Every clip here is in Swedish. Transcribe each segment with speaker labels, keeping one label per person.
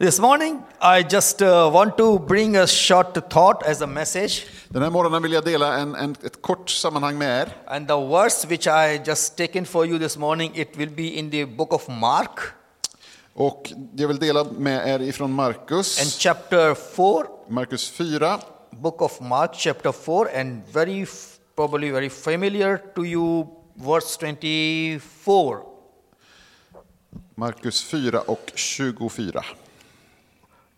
Speaker 1: This morning, I just uh, want to bring a short thought as a message.
Speaker 2: Den här morgonen vill jag dela en, en, ett kort sammanhang med er.
Speaker 1: And the verse which I just taken for you this morning, it will be in the book of Mark
Speaker 2: Och jag vill dela med er ifrån
Speaker 1: and
Speaker 2: Markus,
Speaker 1: chapter 4,
Speaker 2: Markus 4.
Speaker 1: book of Mark chapter 4 and very f- probably very familiar to you verse 24.
Speaker 2: Markus 4 och 24.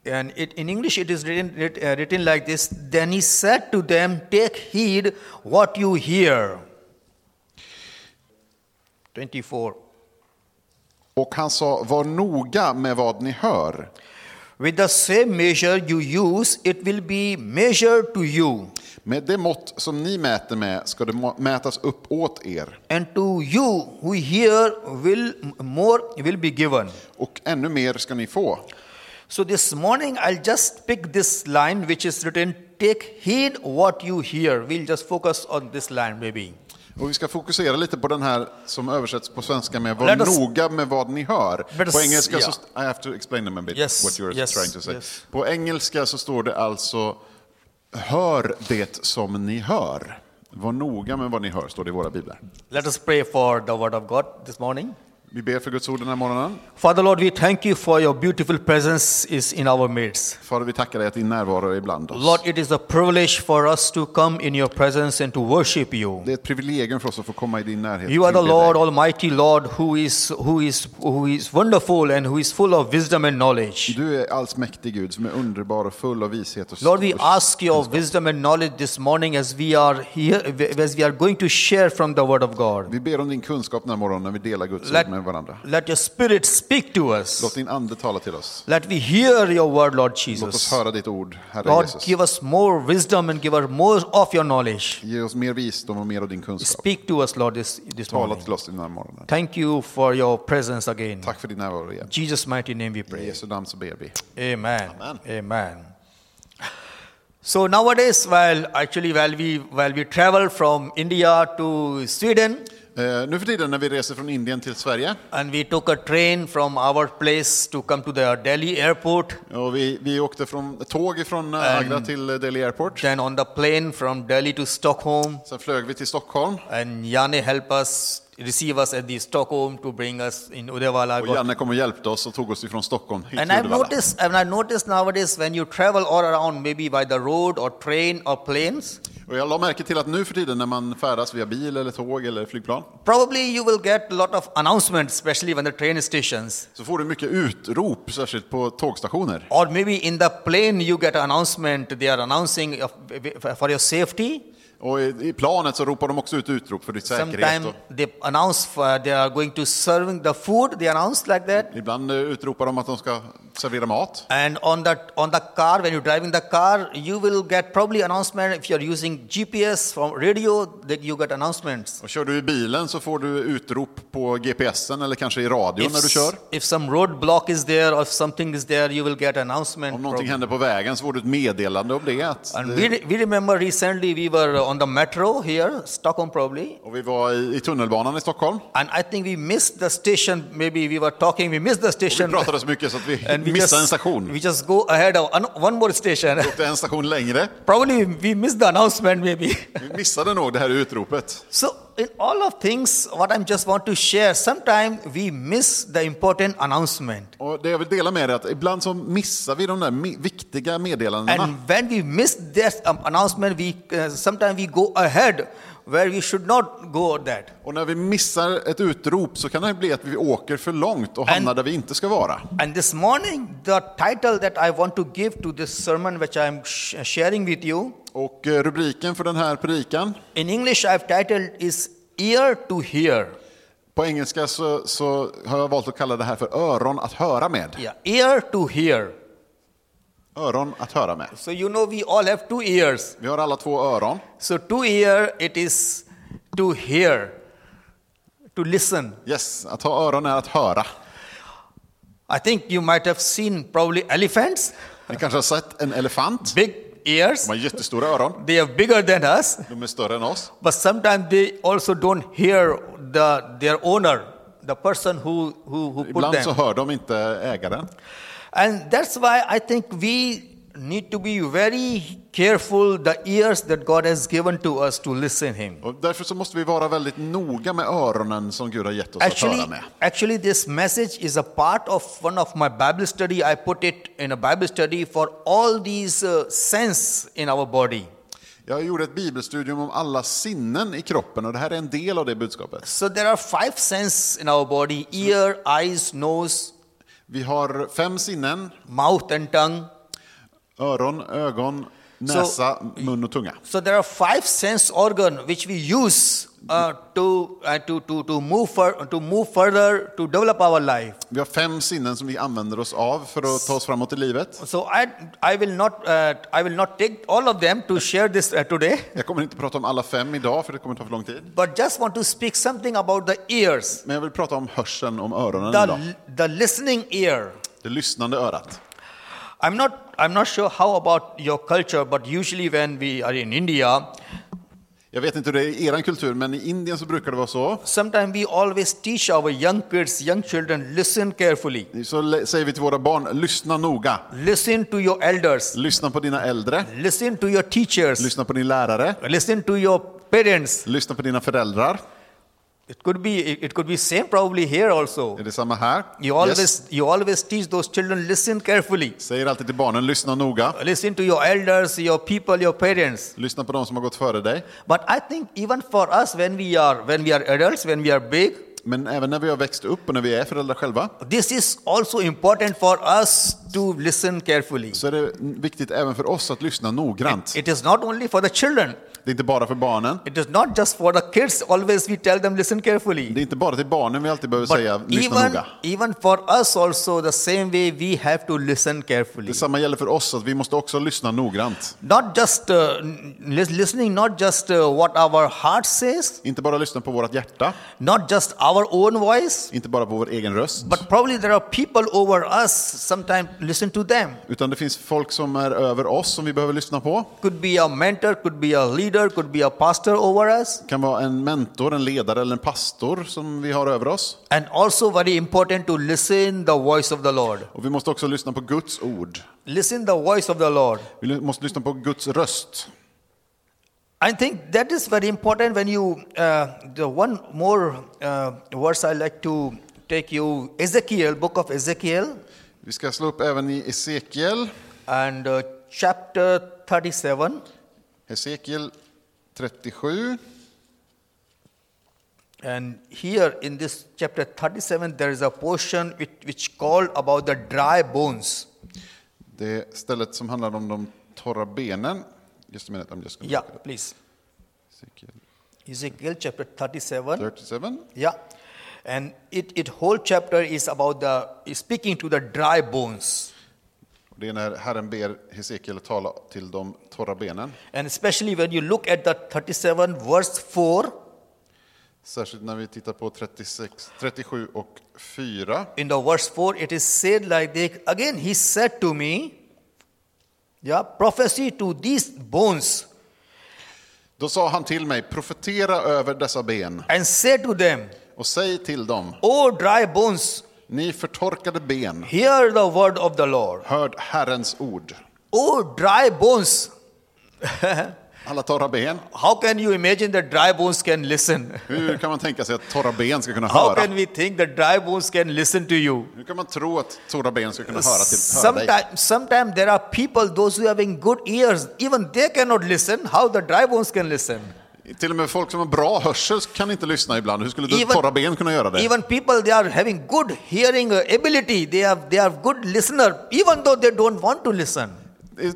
Speaker 1: And it, in English, it is written, writ- uh, written like this Then he said to them, Take heed what you hear. 24.
Speaker 2: Och han sa, var noga med vad ni hör.
Speaker 1: With the same measure you use, it will be measured to you,
Speaker 2: Med det mått som ni mäter med ska det må- mätas upp åt er.
Speaker 1: and to you who hear will m- more will be given.
Speaker 2: Och ännu mer ska ni få.
Speaker 1: So this morning I'll just pick this line which is written take heed what you hear. We'll just focus on this line maybe.
Speaker 2: Och vi ska fokusera lite på den här som översätts på svenska med
Speaker 1: Let
Speaker 2: var
Speaker 1: us-
Speaker 2: noga med vad ni hör.
Speaker 1: Let us-
Speaker 2: På engelska
Speaker 1: yeah.
Speaker 2: så... I have to explain them a bit,
Speaker 1: Yes,
Speaker 2: what you're
Speaker 1: yes,
Speaker 2: trying to say.
Speaker 1: yes.
Speaker 2: På engelska så står det alltså Hör det som ni hör. Var noga med vad ni hör, står det i våra biblar.
Speaker 1: Let us pray for the word of God this morning.
Speaker 2: Vi ber för Guds ord den här morgonen.
Speaker 1: Father Lord, we thank you for your beautiful presence is in our midst.
Speaker 2: Fader, vi tackar dig att din närvaro är ibland oss.
Speaker 1: Lord, it is a privilege for us to come in your presence and to worship you.
Speaker 2: Det är ett privilegium för oss att få komma i din närhet.
Speaker 1: You are the
Speaker 2: tillbe dig.
Speaker 1: Lord, Almighty Lord, who is who is who is wonderful and who is full of wisdom and knowledge.
Speaker 2: Du är allsmäktig Gud som är underbar och full av vishet. Och
Speaker 1: Lord, we
Speaker 2: och-
Speaker 1: ask your wisdom and knowledge this morning as we are here, as we are going to share from the Word of God.
Speaker 2: Vi ber om din kunskap den här morgonen när vi delar Guds
Speaker 1: Let,
Speaker 2: ord med varandra.
Speaker 1: let your Spirit speak to
Speaker 2: Låt
Speaker 1: us.
Speaker 2: din ande tala till oss.
Speaker 1: Let we hear your word, Lord
Speaker 2: Låt oss
Speaker 1: Jesus.
Speaker 2: höra ditt ord, Herre
Speaker 1: Lord,
Speaker 2: Jesus.
Speaker 1: give us more wisdom and give us more of your knowledge.
Speaker 2: Ge oss mer visdom och mer av din kunskap.
Speaker 1: Speak to us, Lord, this, this
Speaker 2: Tala
Speaker 1: morning.
Speaker 2: till oss den här morgonen.
Speaker 1: Thank you for your presence again.
Speaker 2: Tack för din närvaro igen.
Speaker 1: In Jesus' mighty name we
Speaker 2: I
Speaker 1: pray.
Speaker 2: Jesu namn så ber vi.
Speaker 1: Amen.
Speaker 2: Amen.
Speaker 1: Amen. So nowadays, while actually while we while we travel from India to Sweden,
Speaker 2: Eh, nu för tiden när vi reser från Indien till Sverige
Speaker 1: and we took a train from our place to come to the Delhi airport,
Speaker 2: och vi, vi åkte från tåg från
Speaker 1: Ehm.
Speaker 2: eh, Agra till eh, Delhi Airport.
Speaker 1: then on the plane from Delhi to Stockholm,
Speaker 2: Sen flög vi till Stockholm
Speaker 1: and Yane helped us receive us at the Stockholm to bring us in Uddevalla.
Speaker 2: och
Speaker 1: Got-
Speaker 2: Janne kom och hjälpte oss och tog oss ifrån Stockholm hit
Speaker 1: And
Speaker 2: till
Speaker 1: I've
Speaker 2: Uddevalla.
Speaker 1: noticed, and I noticed nowadays when you travel all around, maybe by the road or train or planes,
Speaker 2: Och jag la märke till att nu för tiden när man färdas via bil eller tåg eller flygplan
Speaker 1: probably you will get a lot of announcements, especially when the train stations.
Speaker 2: så får du mycket utrop, särskilt på tågstationer.
Speaker 1: Or maybe in the plane you get an announcement, they are announcing of- for your safety.
Speaker 2: Och i, i planet så ropar de också ut utrop för din säkerhet.
Speaker 1: Sometimes
Speaker 2: Och
Speaker 1: they announce for, they are going to serving the food. They announce like that.
Speaker 2: ibland eh, utropar de att de ska servera mat.
Speaker 1: And on the on the car, when you're driving the car, you will get probably announcement if you're using GPS from radio that you get announcements.
Speaker 2: Och kör du i bilen så får du utrop på GPSen eller kanske i radion när du kör.
Speaker 1: if some roadblock is there or if something is there, you will get announcement.
Speaker 2: Om någonting
Speaker 1: probably.
Speaker 2: händer på vägen så får du ett meddelande om det. Att eh,
Speaker 1: And
Speaker 2: det
Speaker 1: we, re- we remember recently we were on the metro here, Stockholm probably,
Speaker 2: och vi var i, i tunnelbanan i Stockholm.
Speaker 1: and I think we missed the station. Maybe we were talking, we missed the
Speaker 2: Vi
Speaker 1: station.
Speaker 2: pratade så mycket så att vi
Speaker 1: And we
Speaker 2: missade en
Speaker 1: just,
Speaker 2: station.
Speaker 1: we just go ahead of an- one more station.
Speaker 2: Det är en station längre.
Speaker 1: Probably we missed the announcement, maybe.
Speaker 2: Vi missade nog det här utropet.
Speaker 1: So, in all of things, what I am just want to share, sometimes we miss the important announcement.
Speaker 2: Och det jag vill dela med er är att ibland så missar vi de där mi- viktiga meddelandena.
Speaker 1: And when we miss that um, announcement, we uh, sometimes we go ahead where we should not go at that.
Speaker 2: Och när vi missar ett utrop så kan det bli att vi åker för långt och hamnar där vi inte ska vara.
Speaker 1: And this morning, the title that I want to give to this sermon, which I am sh- sharing with you,
Speaker 2: Och eh, rubriken för den här predikan,
Speaker 1: in English, I've titled is "Ear to Hear."
Speaker 2: på engelska så, så har jag valt att kalla det här för öron att höra med.
Speaker 1: Yeah, ear to hear.
Speaker 2: Öron att höra med.
Speaker 1: So you know we all have two ears.
Speaker 2: Vi har alla två öron.
Speaker 1: So to hear it is to hear, to listen.
Speaker 2: Yes, att ha öron är att höra.
Speaker 1: I think you might have seen probably elephants,
Speaker 2: Ni kanske har sett en elefant.
Speaker 1: big ears.
Speaker 2: De har jättestora öron.
Speaker 1: They are bigger than us,
Speaker 2: De är större än oss.
Speaker 1: but sometimes they also don't hear the their owner, the person who who, who put
Speaker 2: Ibland så
Speaker 1: them.
Speaker 2: hör de inte ägaren.
Speaker 1: And that's why I think we need to be very careful the ears that God has given to us to listen him.
Speaker 2: Och därför så måste vi vara väldigt noga med öronen som Gud har gett oss att
Speaker 1: Actually,
Speaker 2: höra med.
Speaker 1: actually, this message is a part of one of my Bible study. I put it in a Bible study for all these uh, sense in our body.
Speaker 2: Jag gjorde ett bibelstudium om alla sinnen i kroppen och det här är en del av det budskapet.
Speaker 1: So there are five sense in our body: ear, eyes, nose,
Speaker 2: Vi har fem sinnen,
Speaker 1: mouth, and tongue.
Speaker 2: öron, ögon, näsa, mun och tunga.
Speaker 1: So there are five sense organ which we use uh, to, uh, to to to move fur- to move further to develop our life.
Speaker 2: Vi har fem sinnen som vi använder oss av för att ta oss framåt i livet.
Speaker 1: So I I will not uh, I will not take all of them to share this uh, today,
Speaker 2: Jag kommer inte prata om alla fem idag för det kommer ta för lång tid.
Speaker 1: but just want to speak something about the ears,
Speaker 2: Men jag vill prata om hörseln, om öronen idag.
Speaker 1: the the listening ear.
Speaker 2: Det lyssnande örat.
Speaker 1: I'm not I'm not sure how about your culture, but usually when we are in India,
Speaker 2: Jag vet inte hur det är i er kultur, men i Indien så brukar det vara så.
Speaker 1: sometimes we always teach our young kids, young children, listen carefully,
Speaker 2: Så lä- säger vi till våra barn, lyssna noga.
Speaker 1: listen to your elders,
Speaker 2: Lyssna på dina äldre,
Speaker 1: listen to your teachers.
Speaker 2: lyssna på din lärare,
Speaker 1: listen to your parents
Speaker 2: lyssna på dina föräldrar.
Speaker 1: it could be it could be same probably here also
Speaker 2: Är det samma här?
Speaker 1: you always
Speaker 2: Yes.
Speaker 1: you always teach those children listen carefully
Speaker 2: Säger alltid till barnen, lyssna noga.
Speaker 1: listen to your elders your people your parents
Speaker 2: Lyssna på de som har gått före dig.
Speaker 1: but i think even for us when we are when we are adults when we are big
Speaker 2: Men även när vi har växt upp och när vi är föräldrar själva,
Speaker 1: this is also important for us to listen carefully
Speaker 2: så är det viktigt även för oss att lyssna noggrant.
Speaker 1: it is not only for the children
Speaker 2: Det är inte bara för barnen.
Speaker 1: it is not just for the kids always we tell them listen carefully
Speaker 2: Det är inte bara till barnen vi alltid behöver
Speaker 1: but
Speaker 2: säga, lyssna
Speaker 1: even
Speaker 2: noga.
Speaker 1: even for us also the same way we have to listen carefully
Speaker 2: Detsamma gäller för oss, att vi måste också lyssna noggrant.
Speaker 1: not just uh, n- lis- listening not just uh, what our heart says
Speaker 2: Inte bara lyssna på vårt hjärta,
Speaker 1: not just our own voice
Speaker 2: inte bara på vår egen röst.
Speaker 1: but probably there are people over us sometimes listen to them
Speaker 2: Utan det finns folk som är över oss som vi behöver lyssna på.
Speaker 1: could be a mentor could be a leader could be a pastor over us
Speaker 2: Det kan vara en mentor, en ledare eller en pastor som vi har över oss.
Speaker 1: and also very important to listen the voice of the lord
Speaker 2: Och vi måste också lyssna på Guds ord.
Speaker 1: listen the voice of the lord
Speaker 2: Vi ly- måste lyssna på Guds röst.
Speaker 1: i think that is very important when you uh, the one more uh, verse i like to take you ezekiel book of ezekiel
Speaker 2: Vi ska slå upp även i Hesekiel,
Speaker 1: and uh, chapter 37
Speaker 2: Hesekiel 37.
Speaker 1: and here in this chapter 37 there is a portion which, which called about the dry bones
Speaker 2: Det är stället som handlar om de torra benen. Just a minute, I'm just gonna
Speaker 1: yeah
Speaker 2: look it up.
Speaker 1: please
Speaker 2: Hesekiel
Speaker 1: ezekiel chapter 37
Speaker 2: 37.
Speaker 1: yeah and it, it whole chapter is about the is speaking to the dry bones
Speaker 2: Och Det är när Herren ber Hesekiel att tala till de torra benen.
Speaker 1: and especially when you look at the 37 verse 4
Speaker 2: Särskilt när vi tittar på 36, 37 och 4.
Speaker 1: in the verse 4 it is said like this again he said to me yeah prophecy to these bones
Speaker 2: Då sa han till mig, profetera över dessa ben
Speaker 1: and say to them,
Speaker 2: och säg till dem,
Speaker 1: O dry bones,
Speaker 2: ni förtorkade ben,
Speaker 1: hear the word of the Lord.
Speaker 2: hörd Herrens ord.
Speaker 1: O dry bones,
Speaker 2: Alla torra ben.
Speaker 1: how can you imagine that dry bones can listen?
Speaker 2: Hur kan man tänka sig att torra ben ska kunna
Speaker 1: How
Speaker 2: höra?
Speaker 1: can we think that dry bones can listen to you?
Speaker 2: Hur kan man tro att torra ben ska kunna höra, till, höra dig?
Speaker 1: Sometimes, sometimes there are people, those who having good ears, even they cannot listen. How the dry bones can listen?
Speaker 2: Till och med folk som har bra hörsel kan inte lyssna ibland. Hur skulle du
Speaker 1: Even-
Speaker 2: torra ben kunna göra det?
Speaker 1: Even people, they are having good hearing uh, ability. They have, they are good listener, even though they don't want to listen.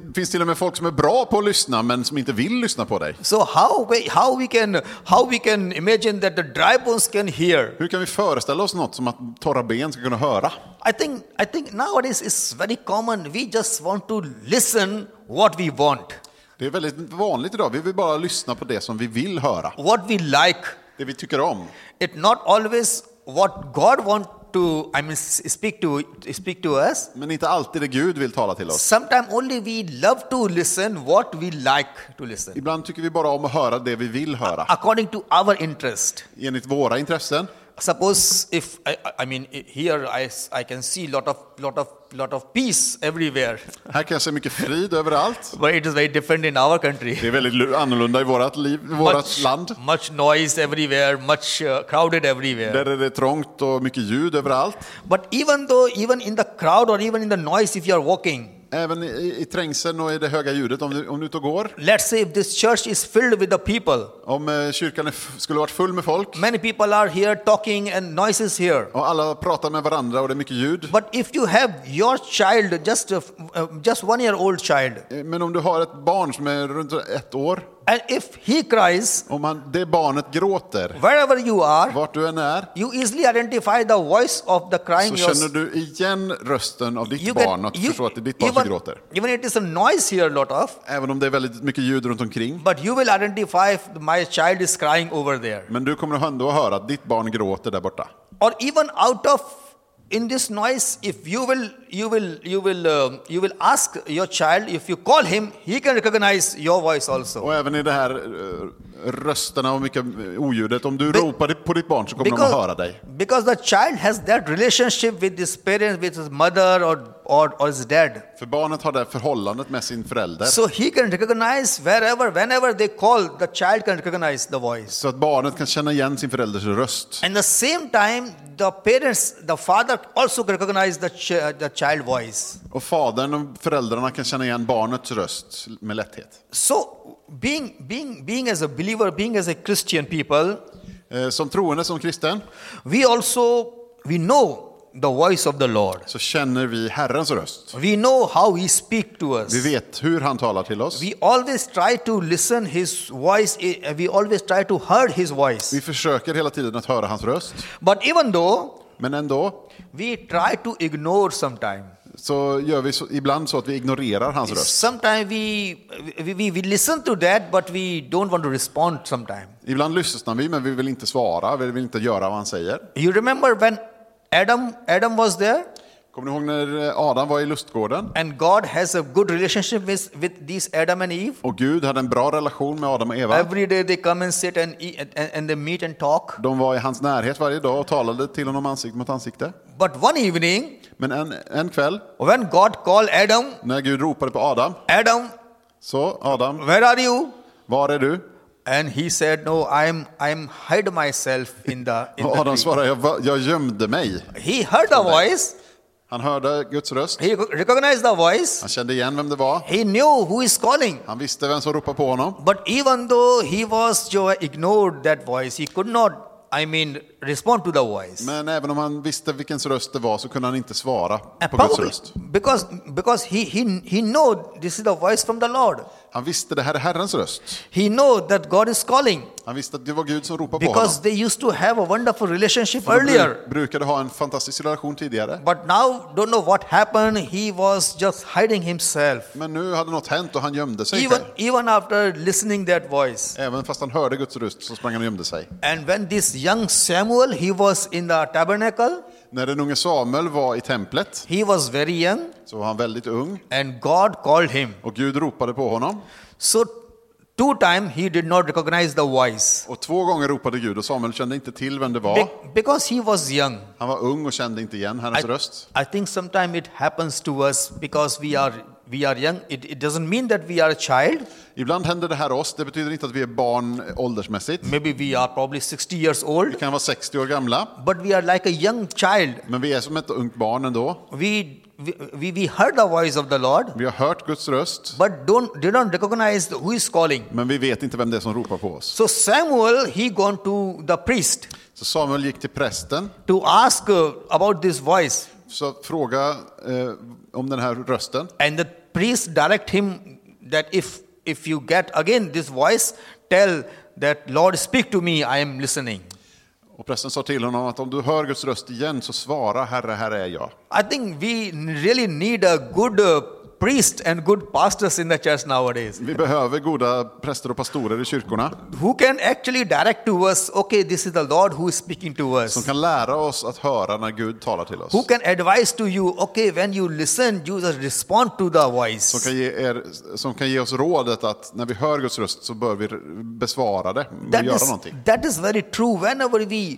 Speaker 2: Det finns till och med folk som är bra på att lyssna men som inte vill lyssna på dig.
Speaker 1: So how we, how we can how we can imagine that the dry bones can hear?
Speaker 2: Hur kan vi föreställa oss något som att torra ben ska kunna höra?
Speaker 1: I think I think nowadays it's very common. We just want to listen what we want,
Speaker 2: Det är väldigt vanligt idag. Vi vill bara lyssna på det som vi vill höra,
Speaker 1: what we like.
Speaker 2: det vi tycker om.
Speaker 1: It not always what God want to I mean s- speak to speak to us.
Speaker 2: Men inte alltid det Gud vill tala till oss.
Speaker 1: Sometimes only we love to listen what we like to listen
Speaker 2: Ibland tycker vi bara om att höra det vi vill höra,
Speaker 1: according to our interest.
Speaker 2: enligt våra intressen.
Speaker 1: Suppose if I, I- I mean i- here I, s- I can see lot of lot of lot of peace everywhere,
Speaker 2: Här kan jag se mycket frid överallt.
Speaker 1: but it is very different in our country.
Speaker 2: Det är väldigt lu- annorlunda i vårt liv, i vårt land.
Speaker 1: much noise everywhere, much uh, crowded everywhere.
Speaker 2: Där är det trångt och mycket ljud överallt.
Speaker 1: But even though, even in the crowd or even in the noise, if you are walking,
Speaker 2: Även i, i trängseln och i det höga ljudet om du, om du är ute och går.
Speaker 1: let's say if this church is filled with the people,
Speaker 2: Om eh, kyrkan är f- skulle varit full med folk
Speaker 1: many people are here talking and noise is here.
Speaker 2: och alla pratar med varandra och det är mycket ljud.
Speaker 1: But if you have your child, just a, uh, just one year old child,
Speaker 2: Eh, Men om du har ett barn som är runt ett år,
Speaker 1: and if he cries,
Speaker 2: om han, det barnet gråter,
Speaker 1: wherever you are,
Speaker 2: vart du än är,
Speaker 1: you easily identify the voice of the crying.
Speaker 2: så
Speaker 1: yours-
Speaker 2: känner du igen rösten av ditt
Speaker 1: you
Speaker 2: barn
Speaker 1: can-
Speaker 2: och att
Speaker 1: you-
Speaker 2: förstår att det är ditt barn som
Speaker 1: even-
Speaker 2: gråter.
Speaker 1: Even it is a noise here, lot of,
Speaker 2: Även om det är väldigt mycket ljud runt omkring.
Speaker 1: but you will identify if my child is crying over there.
Speaker 2: Men du kommer ändå att höra att ditt barn gråter där borta.
Speaker 1: or even out of in this noise if you will you will you will um, you will ask your child if you call him he can recognize your voice also
Speaker 2: Och även i det här eh, rösterna och mycket eh, oljudet, om du
Speaker 1: Be-
Speaker 2: ropar på ditt barn så kommer de att höra dig.
Speaker 1: because the child has that relationship with his parents with his mother or or, or his dad
Speaker 2: För barnet har det här förhållandet med sin förälder.
Speaker 1: so he can recognize wherever whenever they call the child can recognize the voice
Speaker 2: Så att barnet kan känna igen sin förälders röst.
Speaker 1: and the same time the parents the father also can recognize the, ch- the child voice
Speaker 2: Och fadern och föräldrarna kan känna igen barnets röst med lätthet.
Speaker 1: so being being being as a believer being as a christian people
Speaker 2: Eh, Som troende, som kristen,
Speaker 1: we also we know the voice of the lord
Speaker 2: så känner vi Herrens röst.
Speaker 1: we know how he speaks to us
Speaker 2: Vi vet hur han talar till oss.
Speaker 1: we always try to listen his voice eh, we always try to hear his voice
Speaker 2: Vi försöker hela tiden att höra hans röst.
Speaker 1: but even though
Speaker 2: Men ändå
Speaker 1: we try to ignore sometimes
Speaker 2: så gör vi så, ibland så att vi ignorerar hans röst.
Speaker 1: sometimes we, we we we listen to that but we don't want to respond sometimes
Speaker 2: Ibland lyssnar vi, men vi vill inte svara. Vi vill inte göra vad han säger.
Speaker 1: you remember when adam adam was there
Speaker 2: Kommer ni ihåg när eh, Adam var i lustgården?
Speaker 1: and god has a good relationship with with these adam and eve
Speaker 2: Och Gud hade en bra relation med Adam och Eva.
Speaker 1: every day they come and sit and eat, and, and they meet and talk
Speaker 2: De var i hans närhet varje dag och talade till honom ansikte mot ansikte.
Speaker 1: But one evening,
Speaker 2: Men en, en kväll
Speaker 1: when God called Adam,
Speaker 2: när Gud ropade på Adam,
Speaker 1: Adam,
Speaker 2: så Adam,
Speaker 1: where are you?
Speaker 2: var är du?
Speaker 1: And he said, No, I'm I'm hide myself in the in
Speaker 2: Och Adam
Speaker 1: the
Speaker 2: svarade, jag, var- jag gömde mig.
Speaker 1: tree. He heard the voice,
Speaker 2: Han hörde Guds röst,
Speaker 1: he recognized the voice,
Speaker 2: han kände igen vem det var,
Speaker 1: he knew who is calling.
Speaker 2: han visste vem som ropade på honom.
Speaker 1: But even though he was Joe ignored that voice, he could not, I mean, respond to the voice.
Speaker 2: Men även om han visste vilken röst det var så kunde han inte svara
Speaker 1: And
Speaker 2: på Guds
Speaker 1: probably
Speaker 2: röst.
Speaker 1: because because he he he know this is the voice from the Lord.
Speaker 2: Han visste det här är Herrens röst.
Speaker 1: He know that God is calling
Speaker 2: Han visste att det var Gud som ropade på honom.
Speaker 1: because they used to have a wonderful relationship
Speaker 2: De bru-
Speaker 1: earlier.
Speaker 2: brukade ha en fantastisk relation tidigare.
Speaker 1: But now, don't know what happened. He was just hiding himself.
Speaker 2: Men nu hade något hänt och han gömde sig.
Speaker 1: Even,
Speaker 2: själv.
Speaker 1: even after listening that voice.
Speaker 2: Även fast han hörde Guds röst så sprang han och gömde sig.
Speaker 1: And when this young Samuel, he was in the tabernacle.
Speaker 2: När den unge Samuel var i templet
Speaker 1: He was very young
Speaker 2: så var han väldigt ung
Speaker 1: and God called him.
Speaker 2: och Gud ropade på honom.
Speaker 1: So two times he did not recognize the voice.
Speaker 2: Och två gånger ropade Gud och Samuel kände inte till vem det var.
Speaker 1: Be- because he was young.
Speaker 2: Han var ung och kände inte igen
Speaker 1: I,
Speaker 2: Herrens röst.
Speaker 1: I think sometimes it happens to us because we are we are young. It, it doesn't mean that we are a child.
Speaker 2: Ibland händer det här oss. Det betyder inte att vi är barn åldersmässigt.
Speaker 1: Maybe we are probably 60 years
Speaker 2: Vi
Speaker 1: old,
Speaker 2: kan vara 60 år gamla,
Speaker 1: but we are like a young child.
Speaker 2: men vi är som ett ungt barn ändå.
Speaker 1: we, we, we heard the voice of the Lord,
Speaker 2: Vi har hört Guds röst,
Speaker 1: but don't did not recognize who is calling.
Speaker 2: men vi vet inte vem det är som ropar på oss.
Speaker 1: So Samuel he gone to the priest
Speaker 2: Så Samuel gick till prästen
Speaker 1: to ask uh, about this voice,
Speaker 2: för att fråga eh, om den här rösten.
Speaker 1: and the priest direct him that if if you get again this voice, tell that Lord speak to me, I am listening.
Speaker 2: Och prästen sa till honom att om du hör Guds röst igen så svara Herre, här är jag.
Speaker 1: I think we really need a good uh, priest and good pastors in the church nowadays
Speaker 2: Vi behöver goda präster och pastorer i kyrkorna
Speaker 1: who can actually direct to us. Okay, this is the Lord who is speaking to us.
Speaker 2: som kan lära oss att höra när Gud talar till oss.
Speaker 1: Who can advise to you, okay, when you listen, you just respond to the voice.
Speaker 2: Som kan, ge er, som kan ge oss rådet att när vi hör Guds röst så bör vi besvara det och
Speaker 1: That
Speaker 2: göra
Speaker 1: is,
Speaker 2: någonting.
Speaker 1: that is very true. Whenever we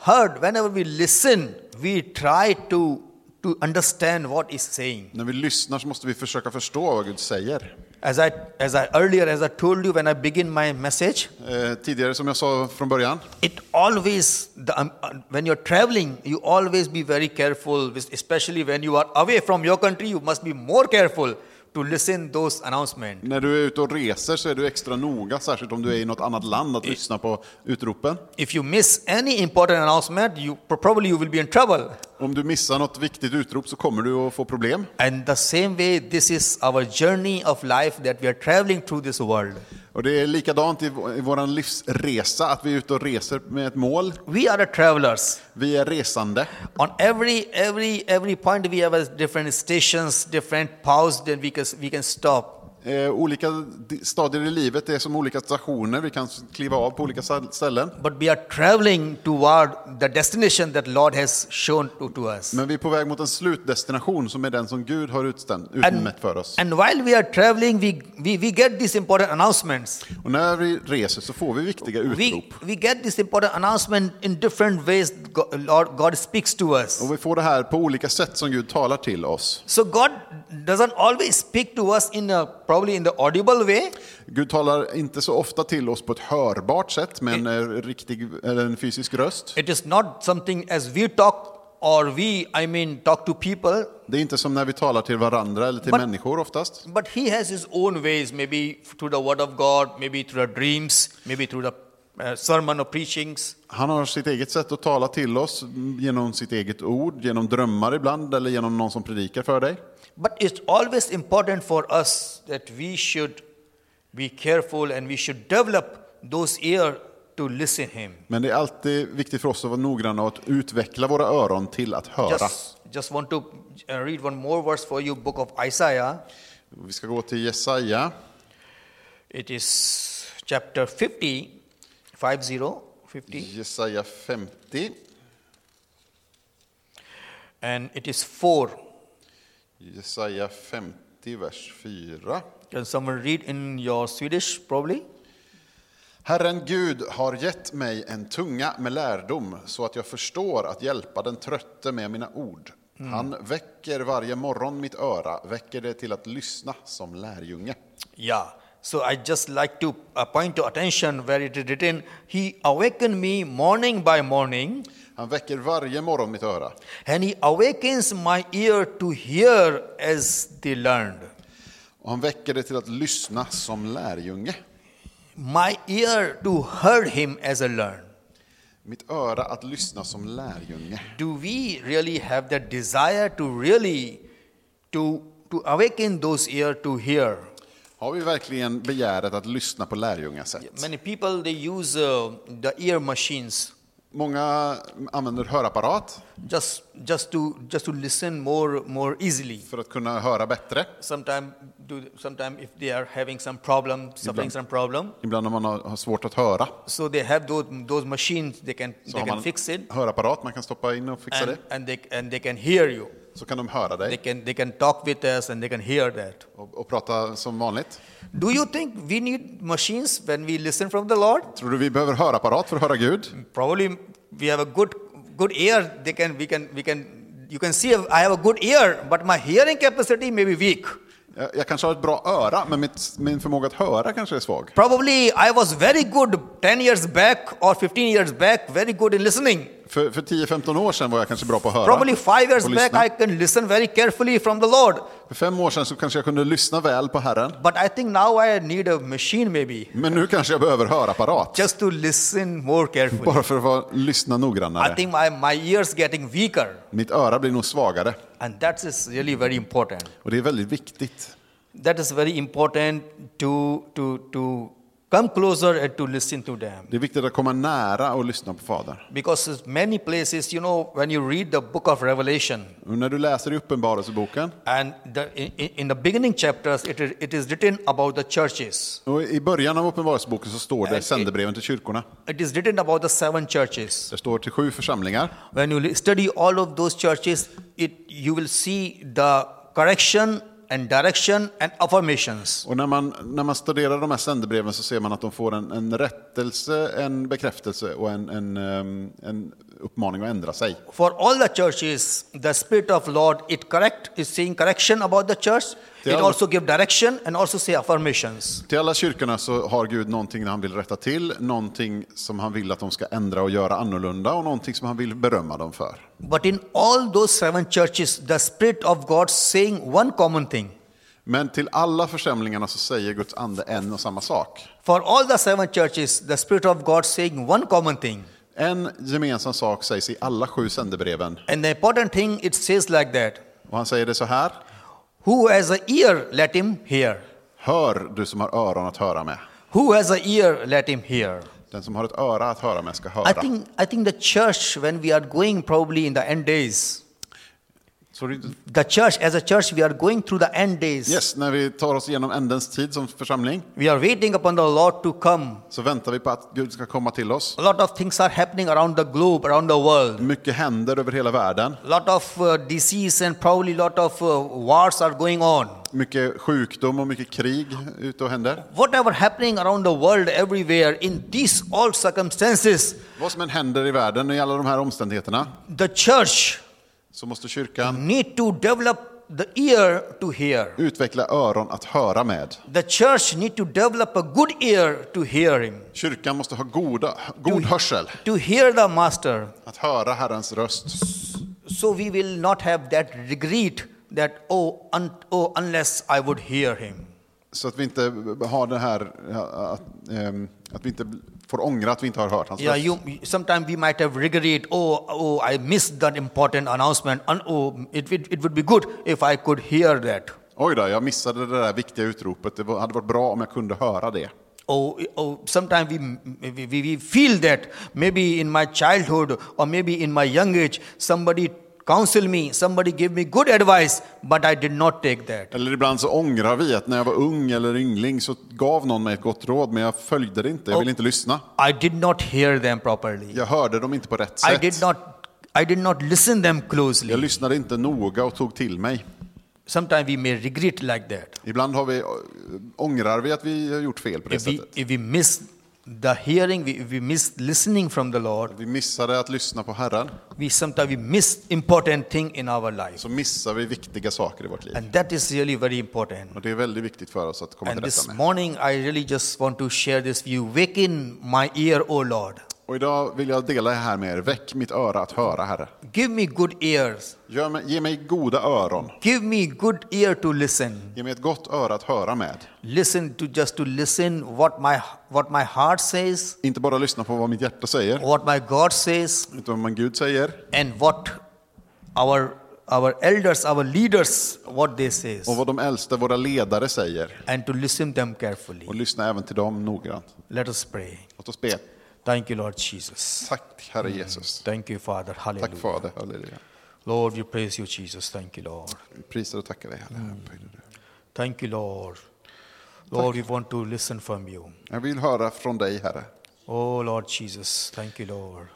Speaker 1: heard, whenever we listen, we try to, to understand what is saying.
Speaker 2: När vi lyssnar så måste vi försöka förstå vad Gud säger.
Speaker 1: As I, as I earlier, as I told you when I begin my message,
Speaker 2: Eh, tidigare, som jag sa från början,
Speaker 1: it always, the, um, uh, when you're traveling, you always be very careful, with- especially when you are away from your country, you must be more careful to listen those announcements.
Speaker 2: när du är ute och reser så är du extra noga, särskilt om du är i något annat land, att lyssna på utropen.
Speaker 1: If you miss any important announcement, you probably you will be in trouble.
Speaker 2: Om du missar något viktigt utrop så kommer du att få problem.
Speaker 1: And the same way, this is our journey of life that we are traveling through this world.
Speaker 2: Och det är likadant i vå- i vår livsresa, att vi är ute och reser med ett mål.
Speaker 1: We are the travelers.
Speaker 2: Vi är resande.
Speaker 1: On every every every point, we have a different stations, different paus that we can we can stop.
Speaker 2: Eh, olika di- stadier i livet är som olika stationer, vi kan s- kliva av på olika sa- ställen.
Speaker 1: But we are traveling toward the destination that Lord has shown to, to us.
Speaker 2: Men vi är på väg mot en slutdestination som är den som Gud har utstämt,
Speaker 1: And,
Speaker 2: utmätt för oss.
Speaker 1: and while we are traveling, we, we, we get these important announcements.
Speaker 2: Och när vi reser så får vi viktiga utrop.
Speaker 1: We, we get this important announcement in different ways God, Lord, God speaks to us.
Speaker 2: Och vi får det här på olika sätt som Gud talar till oss.
Speaker 1: So God doesn't always speak to us in a probably in the audible way,
Speaker 2: Gud talar inte så ofta till oss på ett hörbart sätt med en, eh, riktig, eller en fysisk röst.
Speaker 1: It is not something as we talk or we, I mean, talk to people,
Speaker 2: Det är inte som när vi talar till varandra eller till
Speaker 1: But-
Speaker 2: människor oftast.
Speaker 1: but He has His own ways, maybe through the Word of God, maybe through the dreams, maybe through the uh, sermon or preachings.
Speaker 2: Han har sitt eget sätt att tala till oss mm, genom sitt eget ord, genom drömmar ibland eller genom någon som predikar för dig.
Speaker 1: But it's always important for us that we should be careful and we should develop those ears to listen Him.
Speaker 2: Men det är alltid viktigt för oss att vara noggranna och att utveckla våra öron till att höra.
Speaker 1: Just, just want to uh, read one more verse for you, book of Isaiah.
Speaker 2: Vi ska gå till Jesaja,
Speaker 1: It is chapter 50, 50, 50.
Speaker 2: Jesaja 50.
Speaker 1: and it is 4.
Speaker 2: Jesaja 50, vers 4.
Speaker 1: Can someone read in your Swedish, probably?
Speaker 2: Herren Gud har gett mig en tunga med lärdom så att jag förstår att hjälpa den trötte med mina ord. Han väcker varje morgon mitt öra, väcker det till att lyssna som lärjunge.
Speaker 1: Yeah. So I just like to uh, point to attention where it is written, He awakened me morning by morning,
Speaker 2: Han väcker varje morgon mitt öra.
Speaker 1: and He awakens my ear to hear as they learned.
Speaker 2: Och han väcker det till att lyssna som lärjunge.
Speaker 1: My ear to hear Him as I learn.
Speaker 2: Mitt öra att lyssna som lärjunge.
Speaker 1: Do we really have that desire to really to to awaken those ear to hear?
Speaker 2: Har vi verkligen begäret att lyssna på lärjungasätt?
Speaker 1: Many people they use uh, the ear machines
Speaker 2: Många använder hörapparat
Speaker 1: just just to just to listen more more easily
Speaker 2: för att kunna höra bättre.
Speaker 1: sometime do sometime if they are having some problem suffering some problem
Speaker 2: Ibland när man har har svårt att höra
Speaker 1: so they have those those machines they can
Speaker 2: så
Speaker 1: they
Speaker 2: har
Speaker 1: can
Speaker 2: man
Speaker 1: fix it
Speaker 2: en hörapparat man kan stoppa in och fixa
Speaker 1: and,
Speaker 2: det.
Speaker 1: and they and they can hear you
Speaker 2: Så kan de höra
Speaker 1: they
Speaker 2: dig
Speaker 1: can they can talk with us and they can hear that
Speaker 2: och, och prata som vanligt.
Speaker 1: do you think we need machines when we listen from the lord
Speaker 2: Tror du vi behöver hörapparat för att höra Gud?
Speaker 1: probably we have a good good ear they can we can we can you can see i have a good ear but my hearing capacity may be weak
Speaker 2: Jag, jag kanske har ett bra öra, men mitt, min förmåga att höra kanske är svag.
Speaker 1: Probably I was very good 10 years back or 15 years back, very good in listening.
Speaker 2: För, för 10-15 år sedan var jag kanske bra på att höra.
Speaker 1: Probably five years
Speaker 2: och
Speaker 1: back
Speaker 2: lyssna.
Speaker 1: I can listen very carefully from the Lord.
Speaker 2: För fem år sedan så kanske jag kunde lyssna väl på Herren.
Speaker 1: But I think now I need a machine maybe
Speaker 2: Men nu kanske jag behöver hörapparat.
Speaker 1: just to listen more carefully.
Speaker 2: Bara för att vara, lyssna
Speaker 1: I
Speaker 2: noggrannare.
Speaker 1: think my, my ears getting weaker
Speaker 2: Mitt öra blir nog svagare.
Speaker 1: and that is really very important.
Speaker 2: Och det är väldigt viktigt.
Speaker 1: That is very important to, to, to come closer and to listen to them.
Speaker 2: Det är viktigt att komma nära och lyssna på Fadern.
Speaker 1: Because there's many places, you know, when you read the book of Revelation,
Speaker 2: Och när du läser i Uppenbarelseboken,
Speaker 1: And the, in, in- in the beginning chapters, it is, it is written about the churches.
Speaker 2: och i början av Uppenbarelseboken så står det sändebreven till kyrkorna.
Speaker 1: It is written about the seven churches.
Speaker 2: Det står till sju församlingar.
Speaker 1: When you li- study all of those churches, it, you will see the correction and direction and affirmations.
Speaker 2: Och när man, när man studerar de här sändebreven så ser man att de får en, en rättelse, en bekräftelse och en, en, ehm, en uppmaning att ändra sig.
Speaker 1: For all the churches, the Spirit of Lord, it correct, is saying correction about the church.
Speaker 2: They
Speaker 1: it
Speaker 2: are-
Speaker 1: also give direction and also say affirmations.
Speaker 2: Till alla kyrkorna så har Gud någonting han vill rätta till, någonting som han vill att de ska ändra och göra annorlunda och någonting som han vill berömma dem för.
Speaker 1: But in all those seven churches, the Spirit of God saying one common thing.
Speaker 2: Men till alla församlingarna så säger Guds ande en och samma sak.
Speaker 1: For all the seven churches, the Spirit of God saying one common thing.
Speaker 2: En gemensam sak sägs i alla sju sändebreven.
Speaker 1: And the important thing, it says like that
Speaker 2: Och han säger det så här.
Speaker 1: Who has a ear, let him hear.
Speaker 2: Hör du som har öron att höra med.
Speaker 1: Who has a ear, let him hear.
Speaker 2: Den som har ett öra att höra med ska
Speaker 1: I
Speaker 2: höra.
Speaker 1: think, I think the church, when we are going probably in the end days,
Speaker 2: Så det-
Speaker 1: the church, as a church, we are going through the end days.
Speaker 2: Yes, när vi tar oss igenom ändens tid som församling
Speaker 1: We are waiting upon the Lord to come.
Speaker 2: så väntar vi på att Gud ska komma till oss.
Speaker 1: A lot of things are happening around the globe, around the world.
Speaker 2: Mycket händer över hela världen.
Speaker 1: lot of uh, disease and probably lot of uh, wars are going on
Speaker 2: Mycket sjukdom och mycket krig ute och händer.
Speaker 1: whatever happening around the world everywhere in these all circumstances
Speaker 2: Vad som än händer i världen i alla de här omständigheterna
Speaker 1: the church
Speaker 2: så måste kyrkan
Speaker 1: need to develop the ear to hear
Speaker 2: utveckla öron att höra med.
Speaker 1: the church need to develop a good ear to hear him
Speaker 2: Kyrkan måste ha goda, god hörsel,
Speaker 1: to hear the master
Speaker 2: att höra Herrens röst.
Speaker 1: so we will not have that regret that oh, un- oh unless i would hear him
Speaker 2: Så att vi inte har det här, ja, att, ehm, att vi inte får ångra att vi inte har hört hans
Speaker 1: Yeah,
Speaker 2: röst.
Speaker 1: you. Sometimes we might have regret. Oh, oh, I missed that important announcement. And oh, it, it, it would be good if I could hear that.
Speaker 2: Oj då, jag missade det där viktiga utropet. Det var- hade varit bra om jag kunde höra det.
Speaker 1: Oh, oh sometimes we, we, we we feel that maybe in my childhood or maybe in my young age, somebody counseled me, somebody gave me good advice, but I did not take that.
Speaker 2: Eller ibland så ångrar vi att när jag var ung eller yngling så gav någon mig ett gott råd men jag följde det inte, jag ville inte lyssna.
Speaker 1: I did not hear them properly.
Speaker 2: Jag hörde dem inte på rätt
Speaker 1: I
Speaker 2: sätt.
Speaker 1: did not. I did not listen them
Speaker 2: Jag
Speaker 1: closely.
Speaker 2: lyssnade inte noga och tog till mig.
Speaker 1: Sometimes we may regret like that.
Speaker 2: Ibland har vi, ångrar vi att vi har gjort fel på det
Speaker 1: If we,
Speaker 2: sättet.
Speaker 1: if we miss the hearing, we, if we miss listening from the Lord,
Speaker 2: Vi missade att lyssna på Herren,
Speaker 1: we sometimes we miss important thing in our life
Speaker 2: så missar vi viktiga saker i vårt liv.
Speaker 1: and that is really very important
Speaker 2: Och det är väldigt viktigt för oss att komma
Speaker 1: and
Speaker 2: till
Speaker 1: this
Speaker 2: rätta med.
Speaker 1: morning i really just want to share this view waken my ear o lord
Speaker 2: Och idag vill jag dela det här med er. Väck mitt öra att höra, Herre.
Speaker 1: give me good ears
Speaker 2: Gör mig, ge mig goda öron.
Speaker 1: give me good ear to listen
Speaker 2: Ge mig ett gott öra att höra med.
Speaker 1: listen to just to listen what my what my heart says
Speaker 2: Inte bara lyssna på vad mitt hjärta säger,
Speaker 1: what my god says
Speaker 2: utan vad Gud säger
Speaker 1: and what our our elders our leaders what they says
Speaker 2: och vad de äldste, våra ledare, säger.
Speaker 1: and to listen them carefully
Speaker 2: Och lyssna även till dem noggrant.
Speaker 1: let us pray
Speaker 2: Låt oss be.
Speaker 1: thank you lord jesus
Speaker 2: Tack, Herre Jesus.
Speaker 1: thank you father hallelujah
Speaker 2: Tack, Fader. Halleluja.
Speaker 1: Lord, we praise you, Jesus. Thank you, Lord.
Speaker 2: Vi prisar och tackar dig, Herre. Upphöjde du.
Speaker 1: Thank you, Lord. Lord, we want to listen from you.
Speaker 2: Jag vill höra från dig, Herre.
Speaker 1: Oh, Lord Jesus, thank you, Lord.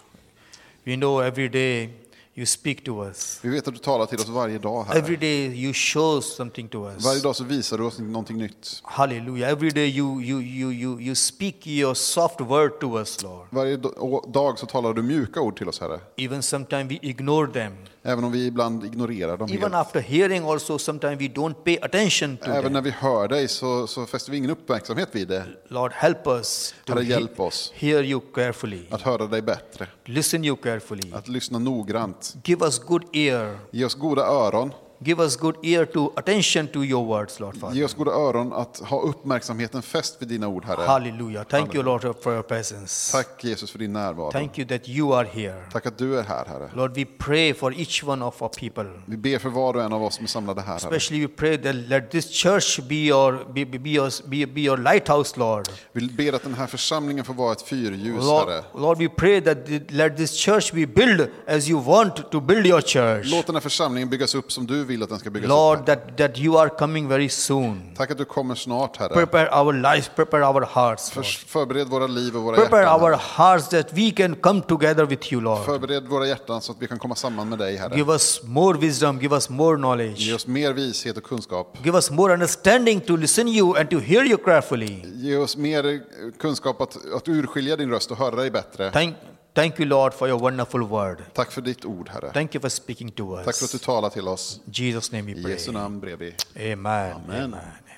Speaker 1: We know every day you speak to us.
Speaker 2: Vi vet att du talar till oss varje dag, Herre.
Speaker 1: Every day you show something to
Speaker 2: Varje
Speaker 1: us.
Speaker 2: dag så visar du oss någonting nytt.
Speaker 1: Hallelujah. Every day you, you, you, you, you speak your soft word to us, Lord.
Speaker 2: Varje do- dag så talar du mjuka ord till oss, Herre.
Speaker 1: Even sometimes we ignore them.
Speaker 2: Även om vi ibland ignorerar dem
Speaker 1: Even
Speaker 2: helt.
Speaker 1: after hearing, also, sometimes we don't pay attention to
Speaker 2: Även
Speaker 1: them.
Speaker 2: när vi hör dig så, så fäster vi ingen uppmärksamhet vid det.
Speaker 1: Lord, help us Uh, to
Speaker 2: Herre, hjälp oss.
Speaker 1: hear you carefully,
Speaker 2: Att höra dig bättre.
Speaker 1: listen you carefully.
Speaker 2: Att lyssna noggrant.
Speaker 1: Give us good ear.
Speaker 2: Ge oss goda öron.
Speaker 1: Give us good ear to attention to your words, Lord Father.
Speaker 2: Ge oss goda öron att ha uppmärksamheten fäst vid dina ord, Herre.
Speaker 1: Hallelujah. Thank you, Lord, for your presence.
Speaker 2: Tack Jesus för din närvaro.
Speaker 1: Thank you that you are here.
Speaker 2: Tack att du är här, Herre.
Speaker 1: Lord, we pray for each one of our people.
Speaker 2: Vi ber för var och en av oss som är samlade här, Herre.
Speaker 1: Especially we pray that let this church be your be, be, be your be, be your lighthouse, Lord.
Speaker 2: Vi ber att den här församlingen får vara ett fyrljus,
Speaker 1: Lord,
Speaker 2: Herre.
Speaker 1: Lord, we pray that th- let this church be built as you want to build your church.
Speaker 2: Låt den här församlingen byggas upp som du vill att den ska byggas upp.
Speaker 1: Lord, that, that you are coming very soon.
Speaker 2: Tack att du kommer snart, Herre.
Speaker 1: Prepare our lives, prepare our hearts. Lord.
Speaker 2: Förs- Förbered våra liv och våra
Speaker 1: Prepare
Speaker 2: hjärtan.
Speaker 1: our hearts that we can come together with you, Lord.
Speaker 2: Förbered våra hjärtan så att vi kan komma samman med dig, Herre.
Speaker 1: Give us more wisdom, give us more
Speaker 2: Ge
Speaker 1: knowledge.
Speaker 2: oss mer vishet och kunskap.
Speaker 1: Give us more understanding to listen you and to hear you carefully.
Speaker 2: Ge oss mer eh, kunskap att, att urskilja din röst och höra dig bättre.
Speaker 1: Thank, thank you, Lord, for your wonderful word.
Speaker 2: Tack för ditt ord, Herre.
Speaker 1: Thank you for speaking to
Speaker 2: Tack för att
Speaker 1: us.
Speaker 2: du talar till oss.
Speaker 1: In Jesus' name we
Speaker 2: I
Speaker 1: pray.
Speaker 2: Jesu namn ber vi.
Speaker 1: Amen.
Speaker 2: Amen.
Speaker 1: Amen.